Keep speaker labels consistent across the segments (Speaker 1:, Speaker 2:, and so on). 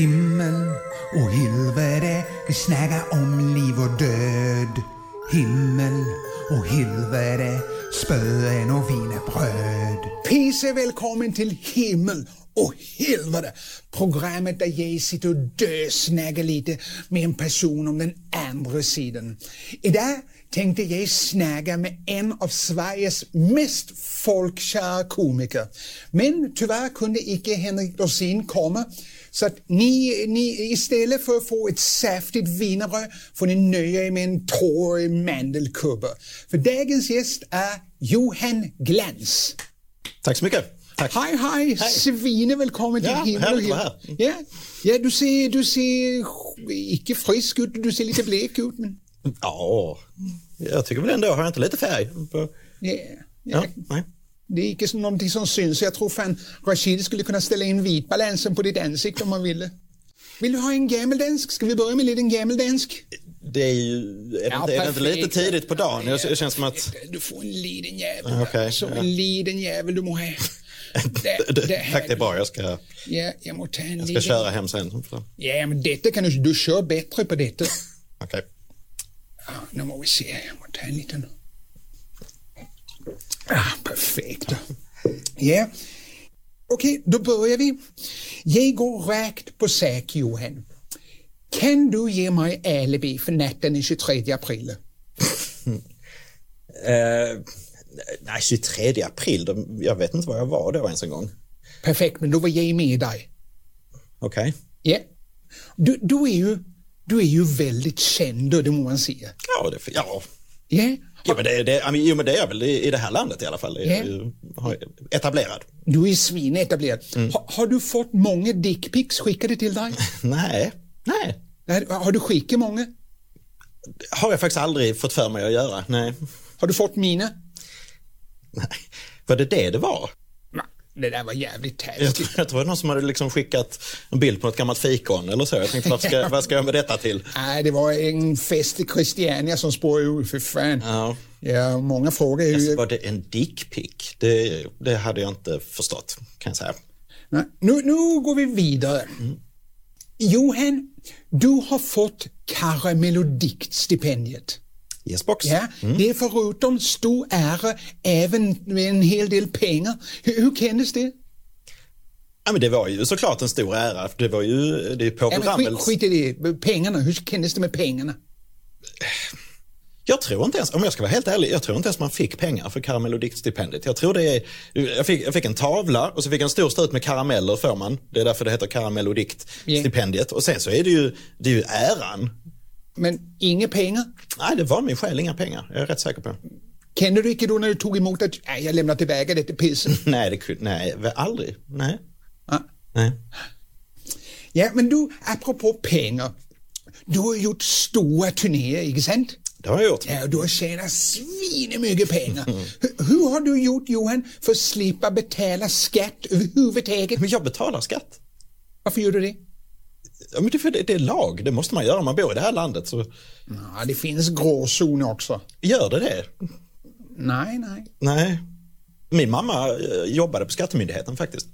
Speaker 1: Himmel och helvete, vi snäga om liv och död. Himmel och helvete, spöen och wienerbröd.
Speaker 2: Pris är välkommen till himmel och helvete! Programmet där jag sitter och dösnäggar lite med en person om den andra sidan. Idag tänkte jag snäga med en av Sveriges mest folkkära komiker. Men tyvärr kunde icke Henrik Dorsin komma så att ni, ni istället för att få ett saftigt wienerbröd får ni nöja er med en torr mandelkubbe. För dagens gäst är Johan Glans.
Speaker 3: Tack så mycket. Tack.
Speaker 2: Hej, hej! Svine, välkommen till
Speaker 3: Ja,
Speaker 2: himmel och
Speaker 3: härligt att
Speaker 2: himmel.
Speaker 3: vara Mm.
Speaker 2: Ja, ja du, ser, du ser icke frisk ut, du ser lite blek ut. Men,
Speaker 3: Ja, jag tycker väl ändå, har jag inte lite färg? På...
Speaker 2: ja,
Speaker 3: Ja,
Speaker 2: ja.
Speaker 3: nej.
Speaker 2: Det är icke som någonting som syns. Jag tror fan Rashid skulle kunna ställa in vitbalansen på ditt ansikte om han ville. Vill du ha en gammeldansk? Ska vi börja med en liten gammeldansk?
Speaker 3: Det är ju, är det,
Speaker 2: Ja,
Speaker 3: inte, är det inte
Speaker 2: perfekt.
Speaker 3: lite tidigt på dagen? Jag, det känns som att,
Speaker 2: Du får en liten jävel.
Speaker 3: Ja, okej,
Speaker 2: Som
Speaker 3: ja.
Speaker 2: en liten jävel du må ha. Det,
Speaker 3: det,
Speaker 2: det här-
Speaker 3: tack det är bra, jag ska, jag
Speaker 2: Ja, jag må ta en
Speaker 3: ska
Speaker 2: liten...
Speaker 3: köra hem sen. Okej.
Speaker 2: Ja, men detta kan du... Du kör bättre på detta. Ja, nu må vi se. Jag må ta en liten... Ah, perfekt. Ja. Okej, då börjar vi. Jag går rakt på sak, Johan. Kan du ge mig alibi för natten den 23 april?
Speaker 3: Eh, nej, 23 april, de- jag vet inte var jag var då ens en gång.
Speaker 2: Perfekt, men då var jag med dig.
Speaker 3: Okej.
Speaker 2: Ja. Du, du, är ju, du är ju väldigt känd, det må man säga.
Speaker 3: Ja, det, ja.
Speaker 2: Ja.
Speaker 3: Jo, men det, det, ja, men- jo, men det är jag väl i, i det här landet i alla fall.
Speaker 2: Ja.
Speaker 3: Yeah. Har, etablerad.
Speaker 2: Du är svinetablerad. Ha, har du fått många dickpics skickade till dig?
Speaker 3: Nej, nej.
Speaker 2: Nej, har du skickat många?
Speaker 3: Har jag faktiskt aldrig fått för mig att göra. Nej.
Speaker 2: Har du fått mina?
Speaker 3: nej. Var det det det var?
Speaker 2: Nej, det där var jävligt
Speaker 3: Jag
Speaker 2: taskigt.
Speaker 3: tror, jag tror det var någon som hade liksom skickat en bild på något gammalt fikon eller så. Jag tänkte, vad ska, vad ska jag med detta till?
Speaker 2: Nej, det var en fest i Christiania som spårade ur, för fan.
Speaker 3: Ja.
Speaker 2: Ja, många frågar ju...
Speaker 3: Var det en dickpic? Det, det hade jag inte förstått, kan jag säga.
Speaker 2: Nej, nu, nu går vi vidare. Johan, du har fått Karamelodiktstipendiet.
Speaker 3: Yes, box.
Speaker 2: Ja, det är förutom stor ära även med en hel del pengar. Hur, hur kändes det?
Speaker 3: Ja, men det var ju såklart en stor ära. för Det var ju det är på
Speaker 2: Ja, men skit,
Speaker 3: programmet.
Speaker 2: skit i det, pengarna, hur kändes det med pengarna?
Speaker 3: Jag tror inte ens, om jag ska vara helt ärlig, jag tror inte ens man fick pengar för karamell och diktstipendiet. Jag tror det är, jag fick, jag fick en tavla och så fick jag en stor strut med karameller får man. Det är därför det heter karamell och diktstipendiet. Och sen så är det ju, det är ju äran.
Speaker 2: Men inga pengar?
Speaker 3: Nej, det var min själ, inga pengar. Jag är rätt säker på.
Speaker 2: Kände du inte då när du tog emot att nej, jag lämnar tillbaka det till pisset?
Speaker 3: Nej, det kunde, nej, väl aldrig. Nej.
Speaker 2: Ja.
Speaker 3: nej.
Speaker 2: Ja, men du, apropå pengar. Du har gjort stora turnéer, inte sant?
Speaker 3: Det har jag gjort.
Speaker 2: Ja, och du har tjänat svinemycket pengar. Hur, hur har du gjort, Johan, för att slippa betala skatt överhuvudtaget?
Speaker 3: Men jag betalar skatt.
Speaker 2: Varför gör du det?
Speaker 3: Ja, men det, är för det, det är lag, det måste man göra om man bor i det här landet. Så
Speaker 2: Ja, det finns gråzoner också.
Speaker 3: gör det det.
Speaker 2: Nej, nej.
Speaker 3: Nej. Min mamma eh, jobbade på Skattemyndigheten faktiskt.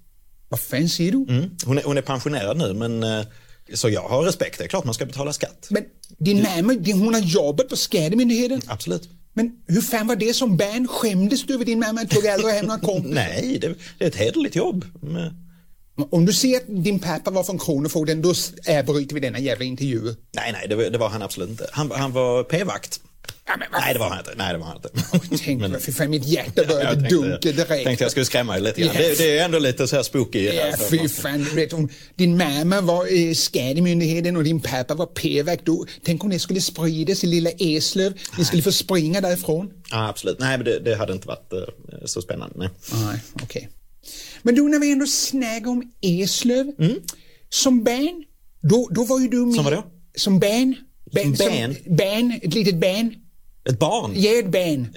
Speaker 2: Vad fan säger du?
Speaker 3: Mm. Hon, är, hon är pensionerad nu, men eh, så jag har respekt. Det är klart man ska betala skatt.
Speaker 2: Men din mamma, din- hon har jobbat på Skattemyndigheten.
Speaker 3: Absolut.
Speaker 2: Men hur fan var det som barn? Skämdes du över din mamma? Tog aldrig hem några kompisar?
Speaker 3: Nej, det, det är ett hederligt jobb. Men,
Speaker 2: Om du ser att din pappa var från Kronofogden, då s- avbryter vi denna jävla intervju.
Speaker 3: nej, nej, det, var- det var han absolut inte. Han, var- han var p-vakt.
Speaker 2: Ja, men vad
Speaker 3: Nej, det var han inte. Nej, det var han inte.
Speaker 2: Tänk,
Speaker 3: Men-
Speaker 2: för fan, mitt hjärta började
Speaker 3: Jag
Speaker 2: dunka
Speaker 3: tänkte,
Speaker 2: direkt.
Speaker 3: tänkte jag skulle skrämma er lite grann.
Speaker 2: Yes.
Speaker 3: Det, det är ändå lite så här spooky. i det här.
Speaker 2: Ja, fy fan. Du vet, om din mamma var eh, skattemyndigheten och din pappa var p-vakt. då- Tänk om det skulle spridas i lilla Eslöv. Ni skulle få springa därifrån.
Speaker 3: Ja, absolut. Nej, men det, det hade inte varit eh, så spännande. Nej.
Speaker 2: Nej, okej. Men du, när vi ändå snäggar om Eslöv. Som barn, då, då var ju du med.
Speaker 3: Mm. Som vadå?
Speaker 2: Som barn. Barn-
Speaker 3: Som barn?
Speaker 2: som- barn, Ett litet barn.
Speaker 3: Ett barn?
Speaker 2: Ge ett barn.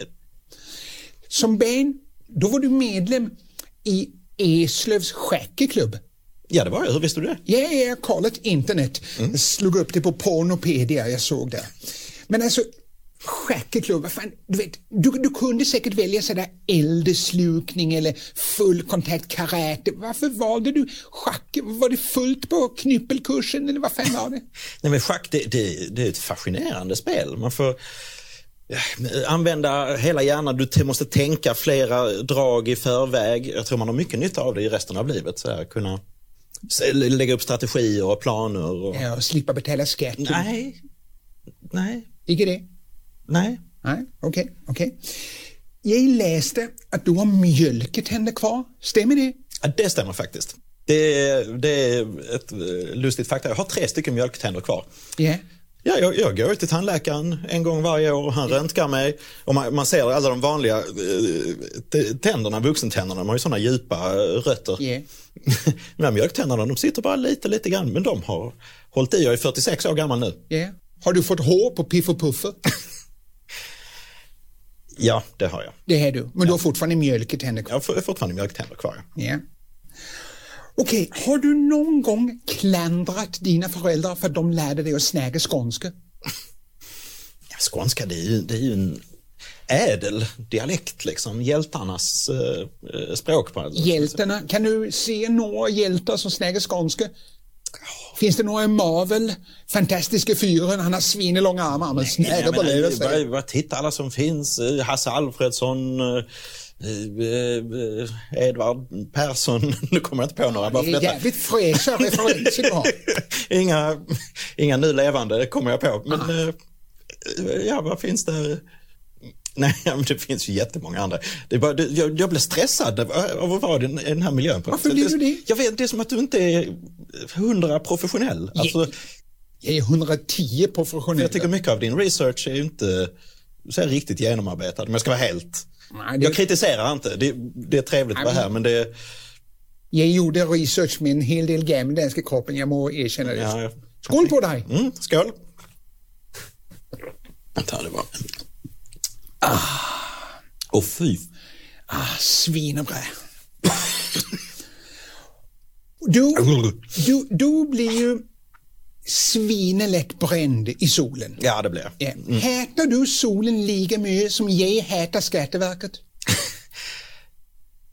Speaker 2: Som barn, då var du medlem i Eslövs schackerklubb.
Speaker 3: Ja, det var jag. Hur visste du det?
Speaker 2: Ja, ja, jag har kollat internet. Jag slog upp det på Pornopedia, jag såg det. Men alltså, Schackeklubb, vad fan, du vet, du, du kunde säkert välja sådär eldeslukning eller full kontakt karate. Varför valde du schack? Var det fullt på knyppelkursen eller vad fan var det?
Speaker 3: Nej, men schack det, det, det är ett fascinerande spel. Man får eh, använda hela hjärnan, du t- måste tänka flera drag i förväg. Jag tror man har mycket nytta av det i resten av livet. Så här, kunna se- lägga upp strategier och planer. Och...
Speaker 2: Ja, och slippa betala skatt.
Speaker 3: Nej, nej,
Speaker 2: Icke det?
Speaker 3: nej.
Speaker 2: Nej, okej, okej. Jag läste att du har mjölketänder kvar, stämmer det?
Speaker 3: Ja, det stämmer faktiskt. Det är, det är ett eh, lustigt fakta. Jag har tre stycken mjölktänder kvar.
Speaker 2: Ja.
Speaker 3: Ja, jag, jag går till tandläkaren en gång varje år och han röntgar mig. Och man, man ser alla de vanliga eh, t- tänderna, vuxentänderna, de har ju sådana djupa eh, rötter.
Speaker 2: Yeah.
Speaker 3: de här mjölktänderna de sitter bara lite, lite grann, men de har hållit i. Jag är 46 år gammal nu.
Speaker 2: Ja. Har du fått hår på Piff och Puffer?
Speaker 3: Ja, det har jag.
Speaker 2: Det är du, men du har fortfarande mjölketänder kvar.
Speaker 3: Jag har for- fortfarande mjölktänder kvar. ja.
Speaker 2: Ja. Okej, har du någon gång klandrat dina föräldrar för att de lärde dig att snäga skånska?
Speaker 3: Ja, skånska, det är ju, det är ju en ädel dialekt, liksom. Hjältarnas eh, eh, språk. På,
Speaker 2: Hjältarna, kan du se några hjältar som snäger skånska? Finns det några i Marvel? Fantastiska fyren, han har svinelånga armar, men snäger på det.
Speaker 3: bara, bara, bara titta alla som finns. Eh, Hasse Alfredsson, eh, eh, eh, Edvard Persson. Nu kommer jag inte på några. Bara
Speaker 2: Det
Speaker 3: för
Speaker 2: är
Speaker 3: detta.
Speaker 2: jävligt fräscha referenser du har.
Speaker 3: inga, inga nu levande det kommer jag på. Men
Speaker 2: Ah.
Speaker 3: eh, ja, vad finns det? Nej, men det finns ju jättemånga andra. Det är bara, det, jag, jag blir stressad av av att vara i den, i den här miljön. på något
Speaker 2: Varför
Speaker 3: sätt.
Speaker 2: blir du det?
Speaker 3: Jag vet, det är som att du inte är hundra professionell. Alltså,
Speaker 2: Jag är 110 professionell.
Speaker 3: jag tycker mycket av din research är ju inte så här riktigt genomarbetad, om jag ska vara helt.
Speaker 2: Nej, det-
Speaker 3: Jag kritiserar inte, det, det är trevligt att vara här, men det...
Speaker 2: Jag gjorde research med en hel del gammeldanska kroppen, jag må erkänna det.
Speaker 3: Ja, ja.
Speaker 2: Skål på dig!
Speaker 3: Mm, skål! Vänta, det var... Åh fy!
Speaker 2: Ah, svinebra. Du, du, du blir ju svinelätt bränd i solen.
Speaker 3: Ja, det blev jag.
Speaker 2: Ja. Hätar du solen lika mycket som jag hätar Skatteverket?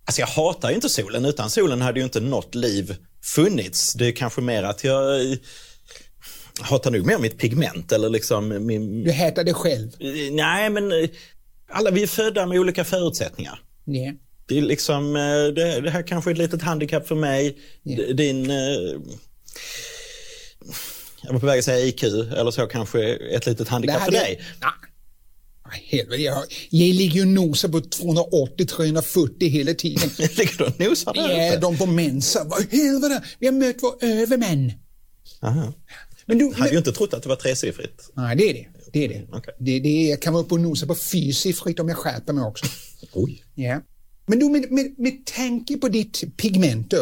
Speaker 3: Alltså jag hatar ju inte solen. Utan solen hade ju inte något liv funnits. Det är kanske mer att jag eh, hatar nog mer mitt pigment eller liksom min...
Speaker 2: Du hätar dig själv.
Speaker 3: Nej, men eh, alla vi är födda med olika förutsättningar.
Speaker 2: Ja.
Speaker 3: Det, är liksom, eh, det, det här kanske är ett litet handikapp för mig. D- Din... eh, Jag var på väg att säga IQ, eller så kanske är ett litet handikapp för
Speaker 2: hade-
Speaker 3: dig.
Speaker 2: Nej. Nej, Helvete, jag, jag ligger ju och nosar på 280-340 hela tiden.
Speaker 3: Ligger du och nosar där
Speaker 2: Ja,
Speaker 3: uppe?
Speaker 2: de på Mensa. Vad i helvete, vi har mött vår övermän.
Speaker 3: Aha.
Speaker 2: Men du,
Speaker 3: Hade
Speaker 2: men,
Speaker 3: ju inte trott att det var tresiffrigt.
Speaker 2: nej, det är det. Det är det.
Speaker 3: Okej.
Speaker 2: det, det jag kan vara uppe och nosa på fyrsiffrigt om jag skärper mig också.
Speaker 3: Oj.
Speaker 2: Ja. Men du, med, med, med tanke på ditt pigment,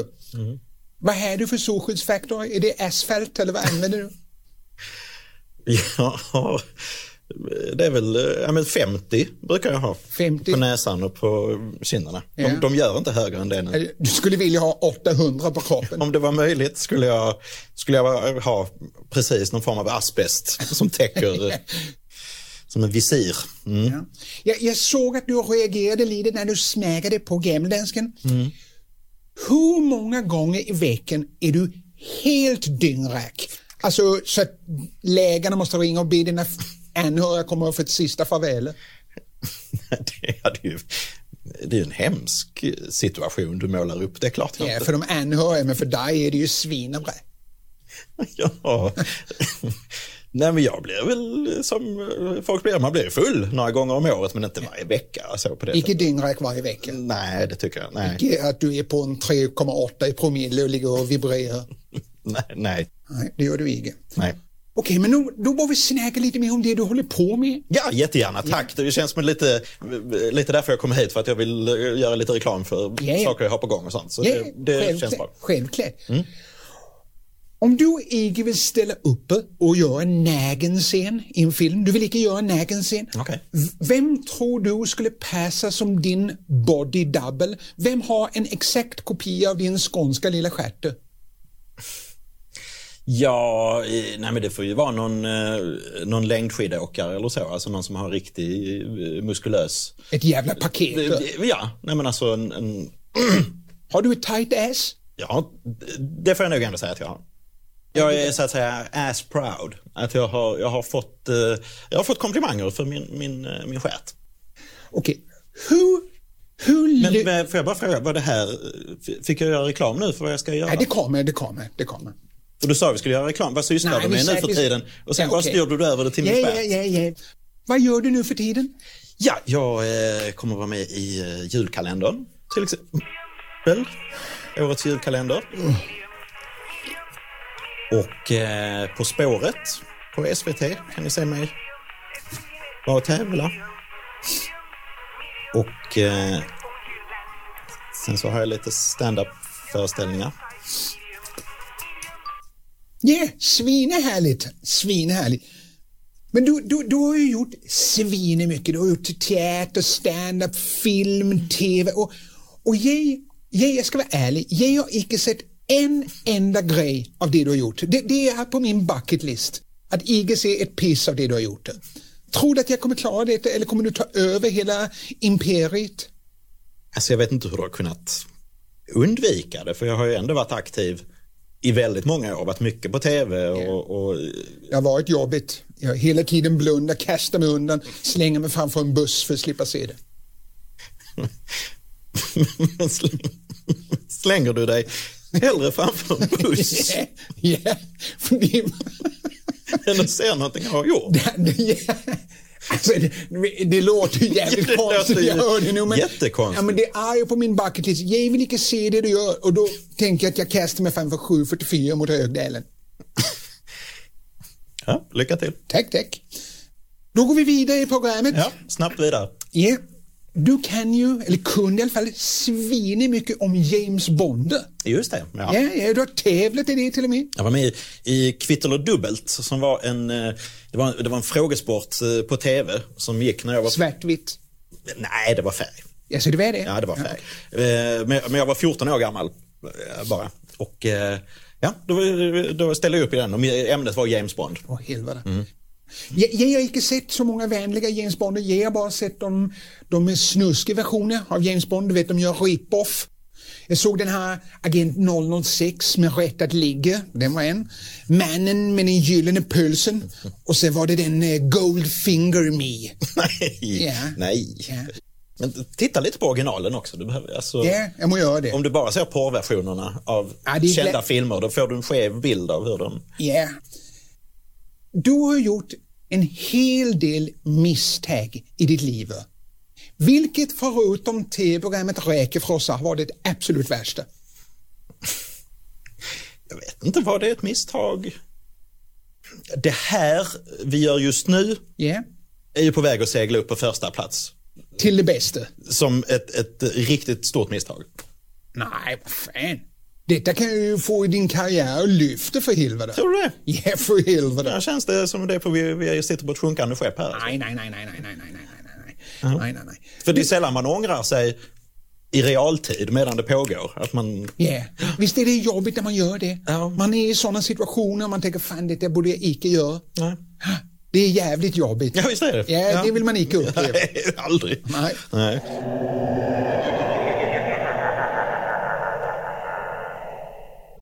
Speaker 2: vad är du för solskyddsfaktor? Är det asfalt eller vad använder du?
Speaker 3: Ja, det är väl eh, ja, men 50 brukar jag ha.
Speaker 2: 50?
Speaker 3: På näsan och på kinderna. De,
Speaker 2: Ja.
Speaker 3: de gör inte högre än det nu.
Speaker 2: Eller, Du skulle vilja ha 800 på kroppen.
Speaker 3: Om det var möjligt skulle jag, skulle jag ha precis någon form av asbest som täcker, eh, som en visir. Mm.
Speaker 2: Ja. Jag, jag såg att du reagerade lite när du smägade på gammeldansken.
Speaker 3: Mm.
Speaker 2: Hur många gånger i veckan är du helt dyngrak? Alltså så att läkarna måste ringa och be dina f- anhöriga komma och få ett sista farväl.
Speaker 3: Det, hade ju, det är ju en hemsk situation du målar upp, det är klart. jag
Speaker 2: Ja,
Speaker 3: inte-
Speaker 2: för de anhöriga, men för dig är det ju svinebra.
Speaker 3: Ja. Nej men jag blir väl som eh, folk blir, man blir full några gånger om året men inte varje vecka. Så på det
Speaker 2: Icke
Speaker 3: sättet.
Speaker 2: dyngrak varje vecka.
Speaker 3: Nej, det tycker jag. Nej.
Speaker 2: Icke att du är på en 3,8 i promille och ligger och vibrerar.
Speaker 3: Nej, nej,
Speaker 2: Nej, det gör du inte.
Speaker 3: nej.
Speaker 2: Okej, men nu, då var vi snacka lite mer om det du håller på med.
Speaker 3: Ja, jättegärna. Tack. Det känns som lite, lite därför jag kom hit, för att jag vill eh, göra lite reklam för
Speaker 2: Ja, ja.
Speaker 3: saker jag har på gång och sånt. Så
Speaker 2: Ja,
Speaker 3: det, det
Speaker 2: självklart.
Speaker 3: känns bra. Mm.
Speaker 2: självklart. Om du inte vill ställa upp och göra en nägenscen i en film, du vill inte göra en nägenscen.
Speaker 3: Okej.
Speaker 2: V- Vem tror du skulle passa som din body double? Vem har en exakt kopia av din skånska lilla stjärte?
Speaker 3: Ja, eh, nej men det får ju vara någon, eh, någon längdskidåkare eller så. Alltså någon som har riktig eh, muskulös...
Speaker 2: Ett jävla paket.
Speaker 3: Eh, Ja, nej men alltså en, en...
Speaker 2: Har du ett tight ass?
Speaker 3: Ja, det får jag nog ändå säga att jag har. Jag är så att säga ass proud. Att jag har, jag har, fått, eh, jag har fått komplimanger för min, min, eh, min stjärt.
Speaker 2: Okej. Hur... Hur...
Speaker 3: Men,
Speaker 2: ly-
Speaker 3: men får jag bara fråga, vad det här, f- fick jag göra reklam nu för vad jag ska göra?
Speaker 2: Nej, det kommer, det kommer, det kommer.
Speaker 3: Och du sa vi skulle göra reklam, vad sysslar
Speaker 2: Nej,
Speaker 3: du
Speaker 2: vi
Speaker 3: med nu
Speaker 2: säger-
Speaker 3: för tiden? Och sen
Speaker 2: Ja,
Speaker 3: bara
Speaker 2: okej.
Speaker 3: styrde du över det till
Speaker 2: Ja,
Speaker 3: min stjärt.
Speaker 2: ja, ja, ja. Vad gör du nu för tiden?
Speaker 3: Ja, jag eh, kommer vara med i eh, julkalendern till exempel. Årets julkalender. Och eh, På spåret på SVT kan ni se mig vara och tävla. Och eh, sen så har jag lite stand-up föreställningar.
Speaker 2: Ja, svinehärligt. Svinehärligt. Men du, du, du har ju gjort svinemycket. Du har gjort teater, stand-up, film, tv och, och jag, jag, jag ska vara ärlig, jag har inte sett en enda grej av det du har gjort. Det, det är här på min bucket list. Att inte se ett piss av det du har gjort. Tror du att jag kommer klara det eller kommer du ta över hela imperiet?
Speaker 3: Alltså jag vet inte hur du har kunnat undvika det, för jag har ju ändå varit aktiv i väldigt många år, varit mycket på tv och, och
Speaker 2: Det har varit jobbigt. Jag hela tiden blundar, kastar mig undan, slänger mig framför en buss för att slippa se det.
Speaker 3: Men släng- Slänger du dig hellre framför en buss
Speaker 2: Ja, ja. För det-
Speaker 3: än att se någonting jag har gjort?
Speaker 2: det- ja. Alltså, det, det låter ju jävligt
Speaker 3: Det låter
Speaker 2: konstigt, jag
Speaker 3: ju
Speaker 2: hör det nu. Men,
Speaker 3: jättekonstigt.
Speaker 2: Ja, men det är ju på min bucket list. Jag vill inte se det du gör och då tänker jag att jag kastar mig framför 744 mot Högdalen.
Speaker 3: Ja, lycka till.
Speaker 2: Tack, tack. Då går vi vidare i programmet.
Speaker 3: Ja, snabbt vidare.
Speaker 2: Ja, Du kan ju, eller kunde i alla fall, svinigt mycket om James Bond.
Speaker 3: Just det. Ja.
Speaker 2: Ja, ja, du har tävlat i det till och med.
Speaker 3: Jag var med i, i Kvitt eller dubbelt som var en, eh, det var, det var en frågesport eh, på tv som gick när jag var...
Speaker 2: Svartvitt.
Speaker 3: Nej, det var färg.
Speaker 2: Ja, så det var det?
Speaker 3: Ja, det var färg. Eh, Men, men jag var 14 år gammal eh, bara. Och eh, ja, då, var- då ställde jag upp i den och ämnet var James Bond.
Speaker 2: Åh helvete. Jag, jag har inte sett så många vänliga James Bonder. Jag har bara sett de, de snuskiga versioner av James Bond. Du vet, de gör rip-off. Jag såg den här Agent 006 med rätt att ligga. Den var en. Mannen med den gyllene pölsen. Och sen var det den eh, Goldfinger Me.
Speaker 3: Nej,
Speaker 2: Ja.
Speaker 3: nej.
Speaker 2: Ja.
Speaker 3: Men titta lite på originalen också. Du behöver, alltså,
Speaker 2: Ja, jag må göra det.
Speaker 3: Om du bara ser porrversionerna av
Speaker 2: Ja, det är
Speaker 3: kända
Speaker 2: lätt.
Speaker 3: filmer, då får du en skev bild av hur de...
Speaker 2: Ja. Du har gjort en hel del misstag i ditt liv. Vilket förutom tv-programmet Räkefrossa var det absolut värsta?
Speaker 3: Jag vet inte, vad det är ett misstag? Det här vi gör just nu
Speaker 2: Ja.
Speaker 3: är ju på väg att segla upp på första plats
Speaker 2: Till det bästa?
Speaker 3: som ett, ett riktigt stort misstag.
Speaker 2: Nej, vad fan. Detta kan ju få din karriär att lyfta för helvete.
Speaker 3: Tror du det?
Speaker 2: Ja, för
Speaker 3: Här
Speaker 2: helvete.
Speaker 3: känns det som det är på, vi, vi sitter på ett sjunkande skepp här.
Speaker 2: Nej, nej, nej, nej, nej, nej, nej, nej, nej, nej, nej, nej, nej.
Speaker 3: För det är sällan man ångrar sig i realtid medan det pågår. Att man
Speaker 2: Ja, visst är det jobbigt när man gör det?
Speaker 3: Ja.
Speaker 2: Man är i sådana situationer man tänker fan detta borde jag icke göra.
Speaker 3: Nej.
Speaker 2: Det är jävligt jobbigt.
Speaker 3: Ja, visst är det.
Speaker 2: Ja, det vill man icke uppleva.
Speaker 3: Nej, aldrig.
Speaker 2: Nej.
Speaker 3: Nej.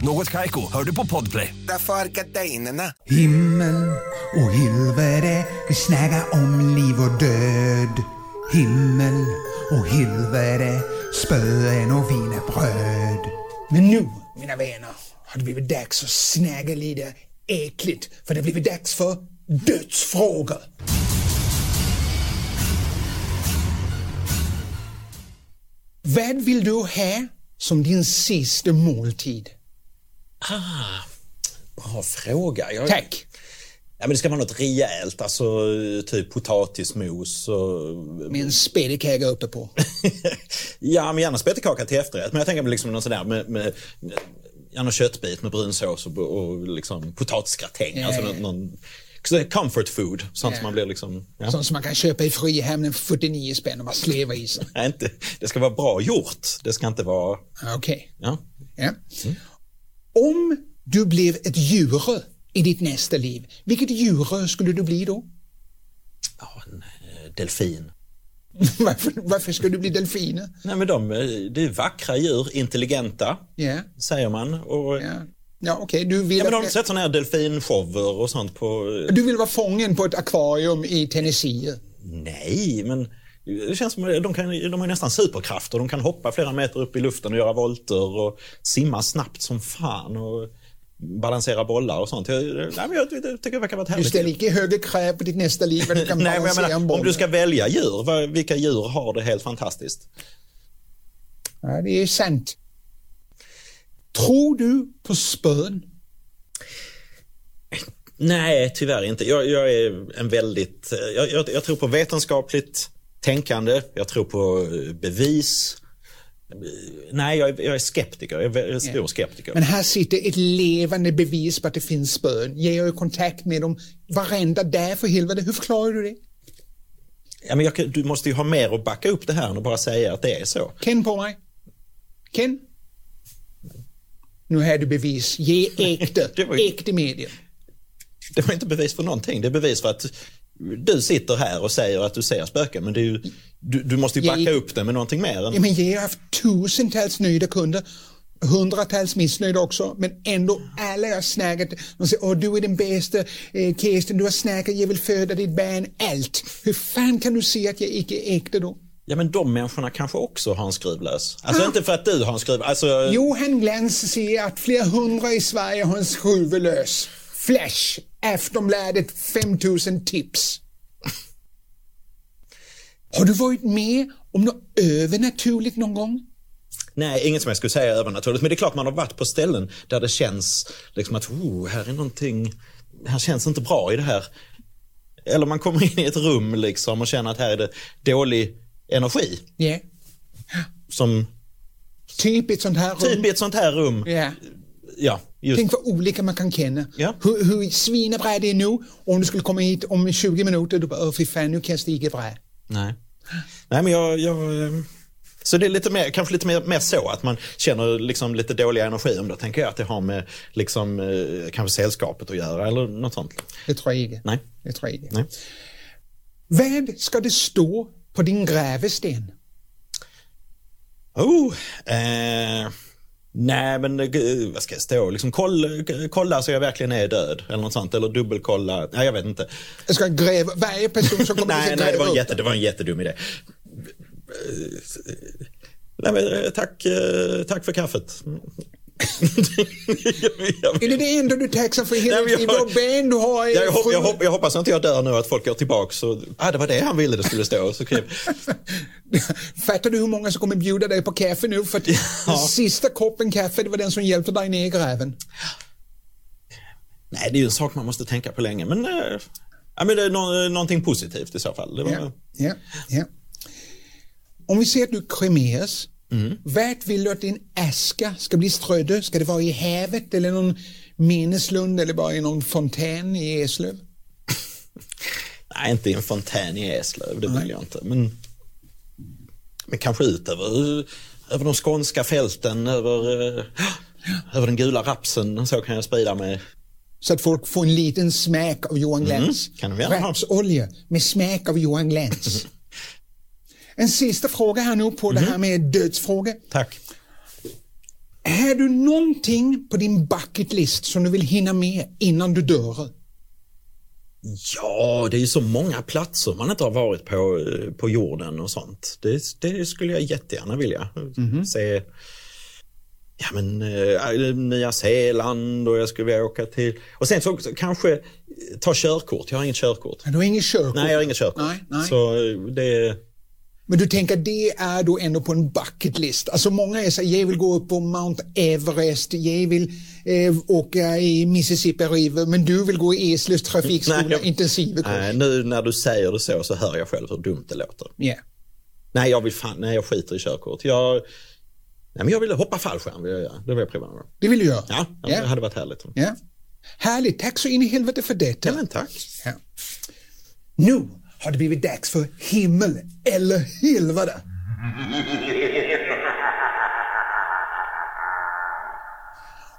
Speaker 4: Något Kaiko, hör du på Podplay.
Speaker 5: Därför är gardinerna.
Speaker 1: Himmel och helvete, vi snackar om liv och död. Himmel och helvete, spöen och wienerbröd.
Speaker 2: Men nu, mina vänner, har det blivit dags att snäga lite äckligt. För det har blivit dags för dödsfrågor. Vad vill du ha som din sista måltid?
Speaker 3: Ah, Bra fråga. Jag,
Speaker 2: Tack!
Speaker 3: Ja, men det ska vara något rejält, alltså typ potatismos och
Speaker 2: Med en spedekäga uppe på.
Speaker 3: Ja, men gärna spettekaka till efterrätt. Men jag tänker mig liksom någon sån där med, med gärna köttbit med brunsås och, och liksom potatisgratäng.
Speaker 2: Ja,
Speaker 3: alltså
Speaker 2: ja.
Speaker 3: någon, någon sån här comfort food. Sånt
Speaker 2: Ja.
Speaker 3: som man blir liksom... Ja.
Speaker 2: Sånt som man kan köpa i Frihamnen för 49 spänn och bara sleva i sig.
Speaker 3: Nej, inte, det ska vara bra gjort. Det ska inte vara...
Speaker 2: Okej.
Speaker 3: Ja.
Speaker 2: Ja.
Speaker 3: Mm.
Speaker 2: Om du blev ett djur i ditt nästa liv, vilket djur skulle du bli då?
Speaker 3: Ja, en eh, delfin.
Speaker 2: Varför, varför ska du bli delfiner?
Speaker 3: Nej, men de, eh, det är vackra djur, intelligenta,
Speaker 2: Ja,
Speaker 3: säger man. Och, ja.
Speaker 2: ja. ja okej. Du, vill
Speaker 3: men de
Speaker 2: att-
Speaker 3: har sett såna här delfinshower och sånt på... eh,
Speaker 2: du vill vara fången på ett akvarium i Tennessee.
Speaker 3: Nej, men det känns som att de, kan, de har nästan superkrafter. De kan hoppa flera meter upp i luften och göra volter och simma snabbt som fan och balansera bollar och sånt. Jag, nej, men jag, jag tycker det verkar vara ett
Speaker 2: Du
Speaker 3: härligt
Speaker 2: ställer
Speaker 3: liv.
Speaker 2: inte högre krav på ditt nästa liv än du kan
Speaker 3: Nej, men jag
Speaker 2: balansera en
Speaker 3: menar,
Speaker 2: boll.
Speaker 3: om du ska välja djur, vad- vilka djur har det helt fantastiskt?
Speaker 2: Ja, det är sant. Tror du på spön?
Speaker 3: Nej, tyvärr inte. Jag, jag är en väldigt... eh, Jag, jag, jag tror på vetenskapligt tänkande. Jag tror på eh, bevis. Eh, Nej, jag är, jag är skeptiker. Jag är vä- stor skeptiker.
Speaker 2: Men här sitter ett levande bevis på att det finns spön. Jag har ju kontakt med dem varenda dag för helvete. Hur förklarar du det?
Speaker 3: Ja, men jag, kan- du måste ju ha mer att backa upp det här än att bara säga att det är så.
Speaker 2: Ken på mig. Ken? Nu har du bevis. Ge äkta,
Speaker 3: Det var ju-
Speaker 2: äkta medier.
Speaker 3: Det var inte bevis för någonting. Det är bevis för att du sitter här och säger att du ser spöken. Men det är ju, du, du måste ju
Speaker 2: Jag-
Speaker 3: backa upp det med någonting mer.
Speaker 2: Ja,
Speaker 3: Än,
Speaker 2: men jag har haft tusentals nöjda kunder, hundratals missnöjda också, men ändå alla jag snackat, de säger åh du är den bästa, eh, Kirsten du har snackat, jag vill föda ditt barn, allt. Hur fan kan du se att jag icke är äkta då?
Speaker 3: ja, men de människorna kanske också har en skruvlös. Alltså
Speaker 2: Ah.
Speaker 3: inte för att du har en skruvlös. Alltså,
Speaker 2: Johan Glans säger att flera hundra i Sverige har en skruvlös. Flash, Aftonbladet 5000 tips. Har du varit med om något övernaturligt någon gång?
Speaker 3: nej, inget som jag skulle säga är övernaturligt. Men det är klart man har varit på ställen där det känns liksom att oh, här är någonting, här känns inte bra i det här. Eller man kommer in i ett rum liksom och känner att här är det dålig energi.
Speaker 2: Ja.
Speaker 3: Som
Speaker 2: Typ i ett sånt här rum.
Speaker 3: typ i ett sånt här rum.
Speaker 2: Ja.
Speaker 3: Ja, just
Speaker 2: Tänk vad olika man kan känna.
Speaker 3: Ja.
Speaker 2: Hur, hur svinebra det är nu. Om du skulle komma hit om 20 minuter, du bara "Åh, fy fan nu känns det inte bra.
Speaker 3: Nej. Nej, men jag... jag eh, så det är lite mer, kanske lite mer, mer så att man känner liksom lite dålig energi om det. Tänker jag att det har med liksom, eh, kanske sällskapet att göra eller något sånt.
Speaker 2: Det tror jag inte.
Speaker 3: Nej.
Speaker 2: Det tror jag inte.
Speaker 3: Nej.
Speaker 2: Vad ska det stå på din grävesten?
Speaker 3: Oh, eh, nej, men eh, gud, vad ska jag stå? Liksom, koll, kolla så jag verkligen är död eller något sånt. Eller dubbelkolla. Nej, jag vet inte.
Speaker 2: Jag ska gräva, varje person som kommer
Speaker 3: nej,
Speaker 2: hit
Speaker 3: nej det, var en
Speaker 2: gräva
Speaker 3: jätte, det var en jättedum idé. Eh, Nej, men, eh, tack, eh, tack för kaffet. Jag-
Speaker 2: Är det det enda du taxar för hela
Speaker 3: Nej, men
Speaker 2: ditt liv?
Speaker 3: jag-
Speaker 2: Vad ben du har? är
Speaker 3: Jag, hopp,
Speaker 2: sju-
Speaker 3: jag, hopp, jag hoppas inte jag dör nu och att folk går tillbaka så, ah det var det han ville det skulle stå. Så kul.
Speaker 2: Fattar du hur många som kommer bjuda dig på kaffe nu? För att den sista koppen kaffe, det var den som hjälpte dig ner i gräven.
Speaker 3: Nej, det är ju en sak man måste tänka på länge, men, eh, ja, men det är nå- någonting positivt i så fall. Det var,
Speaker 2: Ja, ja, ja. Om vi ser att du kremeras,
Speaker 3: Mm.
Speaker 2: vart vill du att din aska ska bli strödd? Ska det vara i havet eller någon minneslund eller bara i någon fontän i Eslöv?
Speaker 3: Nej, inte i en fontän i Eslöv, det vill jag inte. Men, men kanske ut över, över de skånska fälten, över, eh, över den gula rapsen, så kan jag sprida mig.
Speaker 2: Så att folk får en liten smak av Johan Glans.
Speaker 3: Mm, kan de gärna ha.
Speaker 2: Rapsolja med smak av Johan Glans. en sista fråga här nu på
Speaker 3: Mhm.
Speaker 2: det här med dödsfrågor.
Speaker 3: Tack.
Speaker 2: Har du någonting på din bucket list som du vill hinna med innan du dör?
Speaker 3: Ja, det är ju så många platser man inte har varit på eh, på jorden och sånt. Det, det skulle jag jättegärna vilja se. Ja, men eh, Nya Zeeland och jag skulle vilja åka till... Och sen så också kanske eh, ta körkort. Jag har inget körkort.
Speaker 2: Du har inget körkort.
Speaker 3: Nej, jag har inget körkort.
Speaker 2: Nej, nej.
Speaker 3: Så eh, det...
Speaker 2: Men du tänker, det är då ändå på en bucket list. Alltså många är så här, jag vill gå upp på Mount Everest, jag vill eh, åka i Mississippi River, men du vill gå i Eslövs trafikskola,
Speaker 3: Nej, jag-
Speaker 2: intensivkurs.
Speaker 3: Nej, nu när du säger det så så hör jag själv hur dumt det låter.
Speaker 2: Ja.
Speaker 3: Nej, jag, vill fan, nej, jag skiter i körkort. Jag, nej, men jag vill hoppa fallskärm. Vill jag, göra. det vill jag prova. någon gång.
Speaker 2: Det vill du göra?
Speaker 3: Ja, ja,
Speaker 2: Ja.
Speaker 3: det hade varit härligt. Ja.
Speaker 2: Ja. Härligt, tack så in i helvete för detta.
Speaker 3: men tack.
Speaker 2: Ja. Nu har det blivit dags för himmel eller helvete.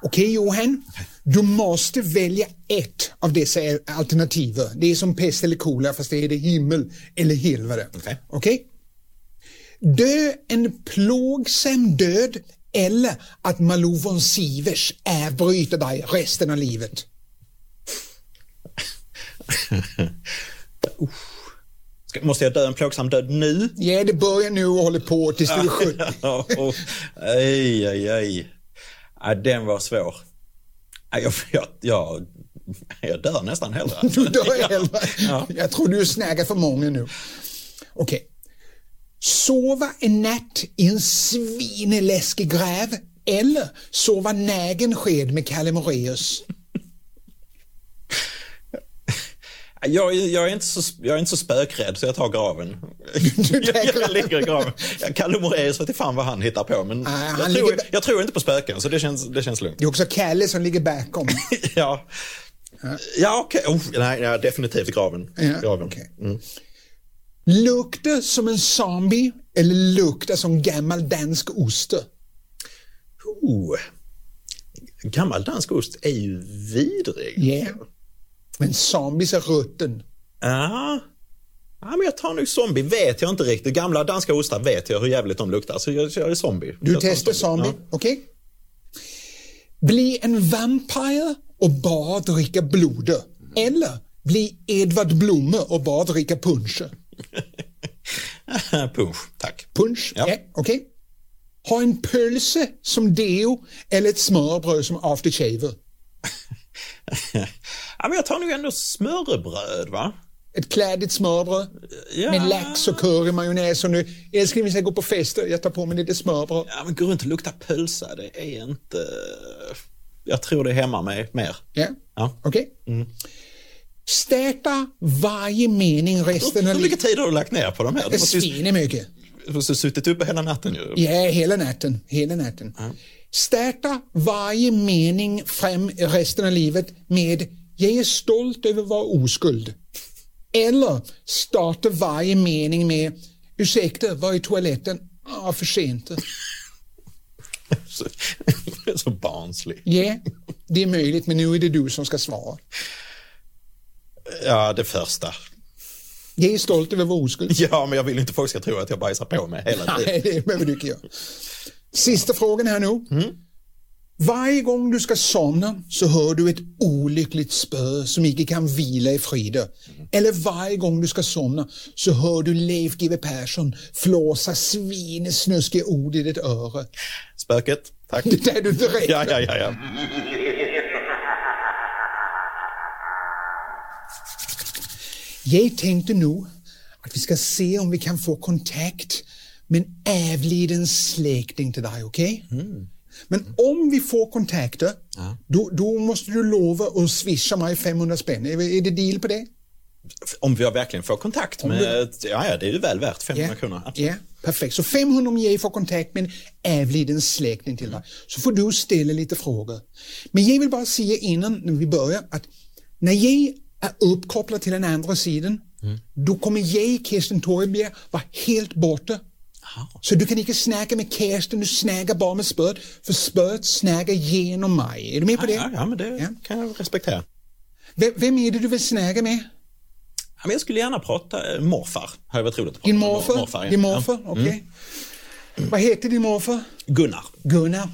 Speaker 2: Okej Johan, du måste välja ett av dessa alternativ. Det är som pest eller kolera fast det är det himmel eller helvete.
Speaker 3: Okej.
Speaker 2: Okej? Dö en plågsam död eller att Malou von Sivers avbryter dig resten av livet.
Speaker 3: Ska, måste jag dö en plågsam död nu?
Speaker 2: Ja, det börjar nu och håller på tills du är 70.
Speaker 3: oh, aj, aj, aj. Ja, den var svår. Ja, Jag, jag, jag, jag dör nästan hellre.
Speaker 2: Du dör elva.
Speaker 3: Ja.
Speaker 2: Jag tror du snägar för många nu. Okej. Sova en natt i en svinläskig gräv eller sova nägen sked med Kalle Moraeus.
Speaker 3: Jag, jag, är inte så, jag är inte så spökrädd så jag tar graven.
Speaker 2: Du tar
Speaker 3: jag, jag
Speaker 2: graven.
Speaker 3: ligger i graven. Jag Kalle Moraeus vet inte fan vad han hittar på. Men
Speaker 2: han
Speaker 3: jag, tror,
Speaker 2: ligger-
Speaker 3: jag tror inte på spöken så det känns, det känns lugnt.
Speaker 2: Det är också Kalle som ligger bakom.
Speaker 3: ja. Ja, okej. Oh, nej, nej, definitivt graven.
Speaker 2: Ja,
Speaker 3: graven. Mm.
Speaker 2: okej. Lukta som en zombie eller lukta som gammal dansk oste.
Speaker 3: Oh. Gammal dansk ost är ju vidrig.
Speaker 2: Ja. Men zombies är rutten.
Speaker 3: Ja. ja, men jag tar nog zombie. Vet jag inte riktigt. Gamla danska ostar vet jag hur jävligt de luktar. Så jag kör zombie.
Speaker 2: Du
Speaker 3: jag tar
Speaker 2: testar zombie, okej? Bli en vampire och bara dricka blod. Eller bli Edvard Blomme och bara dricka punsch.
Speaker 3: Ja. Punsch, tack.
Speaker 2: Punsch, ja.
Speaker 3: Ja.
Speaker 2: okej? Ha en pölse som deo eller ett smörbröd som aftershave.
Speaker 3: ja, men jag tar nog ändå smörrebröd, va?
Speaker 2: Ett kladdigt smörbröd
Speaker 3: Ja.
Speaker 2: med lax och curry, majonnäs och nu. Älskling, vi ska gå på fester. Jag tar på mig lite smörbröd.
Speaker 3: Ja, men gå runt och lukta pölsa. Det är inte... Jag tror det är hemma med mer.
Speaker 2: Ja,
Speaker 3: Ja.
Speaker 2: okej?
Speaker 3: Mm.
Speaker 2: Starta varje mening resten
Speaker 3: Hur
Speaker 2: av
Speaker 3: hur mycket
Speaker 2: livet.
Speaker 3: tid har du lagt ner på de här? Du måste ju
Speaker 2: Svin är mycket.
Speaker 3: du måste ju suttit uppe hela natten ju.
Speaker 2: Ja, hela natten. Hela natten. Starta varje mening fram i resten av livet med Jag är stolt över att vara oskuld. Eller starta varje mening med Ursäkta, var är toaletten? Ah, för sent.
Speaker 3: Så, så barnslig.
Speaker 2: Ja, det är möjligt, men nu är det du som ska svara.
Speaker 3: Ja, det första.
Speaker 2: Jag är stolt över att vara oskuld.
Speaker 3: Ja, men jag vill inte folk ska tro att jag bajsar på mig hela tiden.
Speaker 2: Nej, det behöver du inte göra. Sista frågan här nu. Varje gång du ska somna så hör du ett olyckligt spö som inte kan vila i fride. Eller varje gång du ska somna så hör du Leif GW Persson flåsa svinesnuskiga ord i ditt öra.
Speaker 3: Spöket, tack.
Speaker 2: Det där du direkt.
Speaker 3: Ja, ja, ja, ja.
Speaker 2: Jag tänkte nu att vi ska se om vi kan få kontakt med en avliden släkting till dig, okej? Men om vi får kontakter, då, då måste du lova att swisha mig 500 spänn. Är, är det deal på det?
Speaker 3: Om vi verkligen får kontakt med... Ja, ja, det är ju väl värt 500 kronor.
Speaker 2: Ja,
Speaker 3: Absolut.
Speaker 2: perfekt. Så 500 om jag får kontakt med en avliden släkting till dig. Så får du ställa lite frågor. Men jag vill bara säga innan när vi börjar att när jag är uppkopplad till den andra sidan,
Speaker 3: Mm.
Speaker 2: då kommer jag, Kirsten Torebjer, vara helt borta. Så du kan inte snacka med Kirsten, du snackar bara med spöet, för spöet snackar genom mig. Är du med på det?
Speaker 3: Ja, ja, men det
Speaker 2: Ja.
Speaker 3: kan jag respektera.
Speaker 2: Vem, vem är det du vill snacka med?
Speaker 3: Ja, men jag skulle gärna prata eh, morfar. Hade varit roligt att prata
Speaker 2: Din
Speaker 3: med.
Speaker 2: morfar?
Speaker 3: ja.
Speaker 2: Din morfar?
Speaker 3: Ja. Mm.
Speaker 2: Okej. Vad heter din morfar?
Speaker 3: Gunnar.
Speaker 2: Gunnar.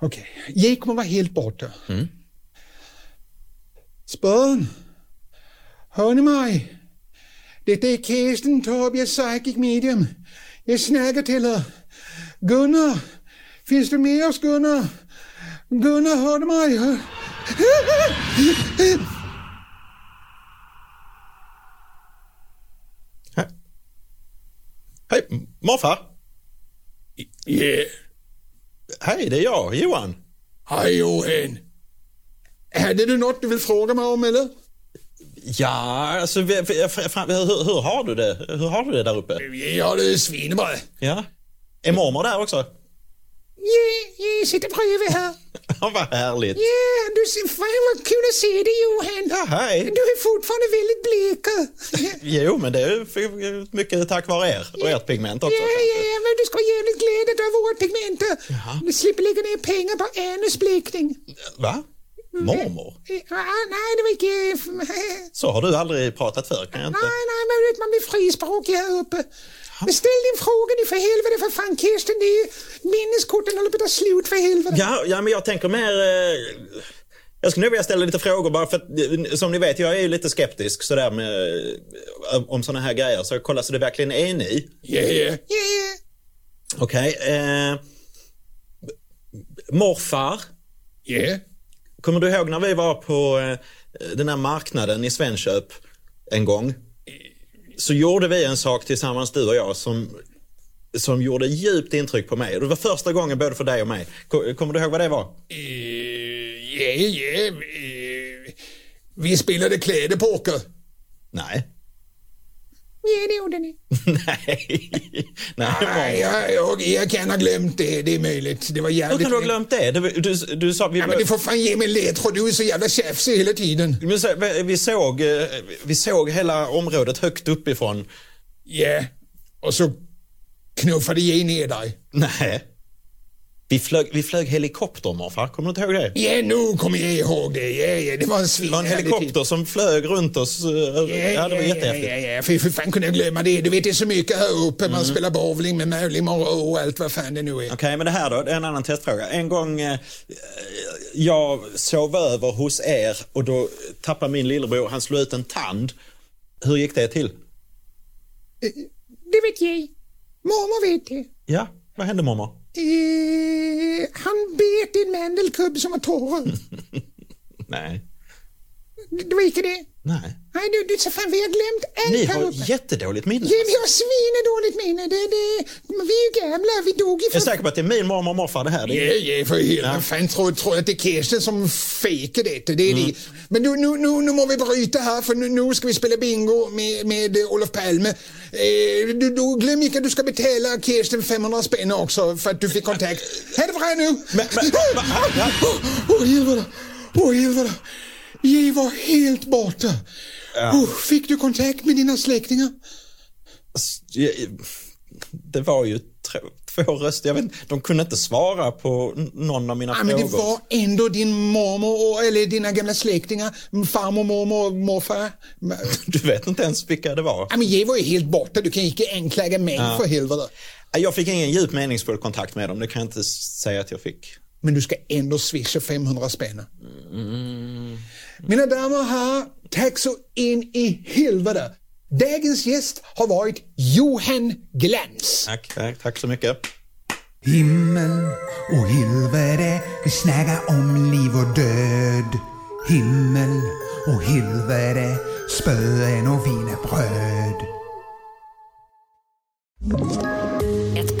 Speaker 2: Okej, jag kommer vara helt borta. Mm. Spön. Hör ni mig? Detta är Kirsten Tobias Psychic Medium. Jag snackar till er. Gunnar, finns du med oss Gunnar? Gunnar, hör du mig? Hör-
Speaker 3: Hej. Hej. Morfar?
Speaker 2: Ja,
Speaker 3: Hej, det är jag, Johan.
Speaker 2: hej Johan. Hade du något du vill fråga mig om eller?
Speaker 3: Ja, alltså vi- vi- fr- fr- hur, hur har du det? Hur har du det där uppe?
Speaker 2: Ja, det är svinebra.
Speaker 3: Ja. Är mormor där också?
Speaker 2: Ja, jag sitter bredvid här.
Speaker 3: Ja, Vad härligt.
Speaker 2: Ja, du ser fan vad kul att se dig Johan.
Speaker 3: Ja, hej.
Speaker 2: Du är fortfarande väldigt blek.
Speaker 3: Jo, men det är ju f- mycket tack vare er och ert pigment också.
Speaker 2: Ja, ja, ja, men du ska vara jävligt glad att du har vårt pigment. Du slipper lägga ner pengar på anusblekning.
Speaker 3: Va? Mormor?
Speaker 2: Eh, ah, Nej, det var inte...
Speaker 3: Så har du aldrig pratat för kan jag inte?
Speaker 2: Nej, nej, men vet man blir frispråkig här uppe. Men ställ din fråga nu för helvete för fan Kirsten, det är minneskorten håller på att ta slut för helvete.
Speaker 3: Ja, ja, men jag tänker mer... Eh, jag skulle nog vilja ställa lite frågor bara för att, eh, som ni vet, jag är ju lite skeptisk sådär med, eh, om sådana här grejer. Så jag kollar så det verkligen är ni.
Speaker 2: Ja, ja.
Speaker 3: Okej. eh, morfar,
Speaker 2: Ja.
Speaker 3: kommer du ihåg när vi var på eh, den här marknaden i Svenköp en gång? Så gjorde vi en sak tillsammans du och jag som, som gjorde djupt intryck på mig. Det var första gången både för dig och mig. Ko- Kommer du ihåg vad det var?
Speaker 2: eh, Ja, ja. Vi spelade kläderpoker.
Speaker 3: Nej.
Speaker 2: Ja, det gjorde ni.
Speaker 3: Nej. Nej,
Speaker 2: Nej,
Speaker 3: mormor.
Speaker 2: jag, jag, jag kan ha glömt det. Det är möjligt. Det var
Speaker 3: Hur
Speaker 2: jävligt...
Speaker 3: kan du ha glömt det? Du, du, du sa... Vi,
Speaker 2: Ja, men du får fan ge mig en ledtråd. Du är så jävla tjafsig hela tiden.
Speaker 3: Men så- vi, såg, eh, vi såg hela området högt uppifrån.
Speaker 2: Ja. Och så knuffade jag ner dig.
Speaker 3: Nej. Vi flög, vi flög helikopter, morfar. Kommer du inte ihåg det?
Speaker 2: Ja, nu kommer jag ihåg det. Ja, ja. Det var en svin.
Speaker 3: Det var en helikopter som flög runt oss. eh,
Speaker 2: Ja,
Speaker 3: Ja, det var
Speaker 2: ja,
Speaker 3: jättehäftigt.
Speaker 2: ja, ja. Fy, fy fan kunde jag glömma det. Du vet, det är så mycket här uppe.
Speaker 3: Mm.
Speaker 2: Man spelar bowling med Marilyn Monroe och allt vad fan det nu är.
Speaker 3: Okej, men det här då, det är en annan testfråga. En gång eh, jag sov över hos er och då tappade min lillebror, han slog ut en tand. Hur gick det till?
Speaker 2: Det vet jag. Mormor vet det.
Speaker 3: Ja, vad hände mormor?
Speaker 2: Eh, han bet en mandelkubb som var
Speaker 3: Mm.
Speaker 2: torr.
Speaker 3: Nej.
Speaker 2: Det var inte det.
Speaker 3: Nej.
Speaker 2: Nej, du, du så fan, vi har glömt
Speaker 3: Ni
Speaker 2: allt här uppe.
Speaker 3: har jättedåligt minne.
Speaker 2: Ja, vi har svinedåligt minne. Det, det, men vi är ju gamla, vi dog ju
Speaker 3: Jag är
Speaker 2: för...
Speaker 3: säker på att det är min mormor och morfar det här. Det är...
Speaker 2: Ja, ja, för helvete. Fan, tror, tror att det är Kirsten som fejkar detta. Det är det. Men nu, nu, nu, nu må vi bryta här, för nu, nu ska vi spela bingo med, med eh, Olof Palme. Eh, du, du, glöm inte att du ska betala Kirsten 500 spänn också, för att du fick kontakt. Ha det bra nu!
Speaker 3: Men- men- va? Ja.
Speaker 2: Åh, helvete! Åh, helvete! Jag var helt borta. Oh, fick du kontakt med dina släktingar?
Speaker 3: Det var ju tr- två röster. Jag vet, inte, de kunde inte svara på n- någon av mina
Speaker 2: Ja, men
Speaker 3: frågor.
Speaker 2: det var ändå din mormor, och, eller dina gamla släktingar, farmor, mormor och morfar. Men-
Speaker 3: Du vet inte ens vilka det var.
Speaker 2: Ja, men jag var ju helt borta, du kan ju inte anklaga mig för helvete.
Speaker 3: Jag fick ingen djup meningsfull kontakt med dem. Det kan jag inte s- säga att jag fick.
Speaker 2: Men du ska ändå swisha 500 spänn. Mina damer och herrar, tack så in i helvete. Dagens gäst har varit Johan Glans.
Speaker 3: Tack, tack, tack så mycket.
Speaker 1: Himmel och helvete, vi snackar om liv och död. Himmel och helvete, spöen och wienerbröd.
Speaker 6: Ett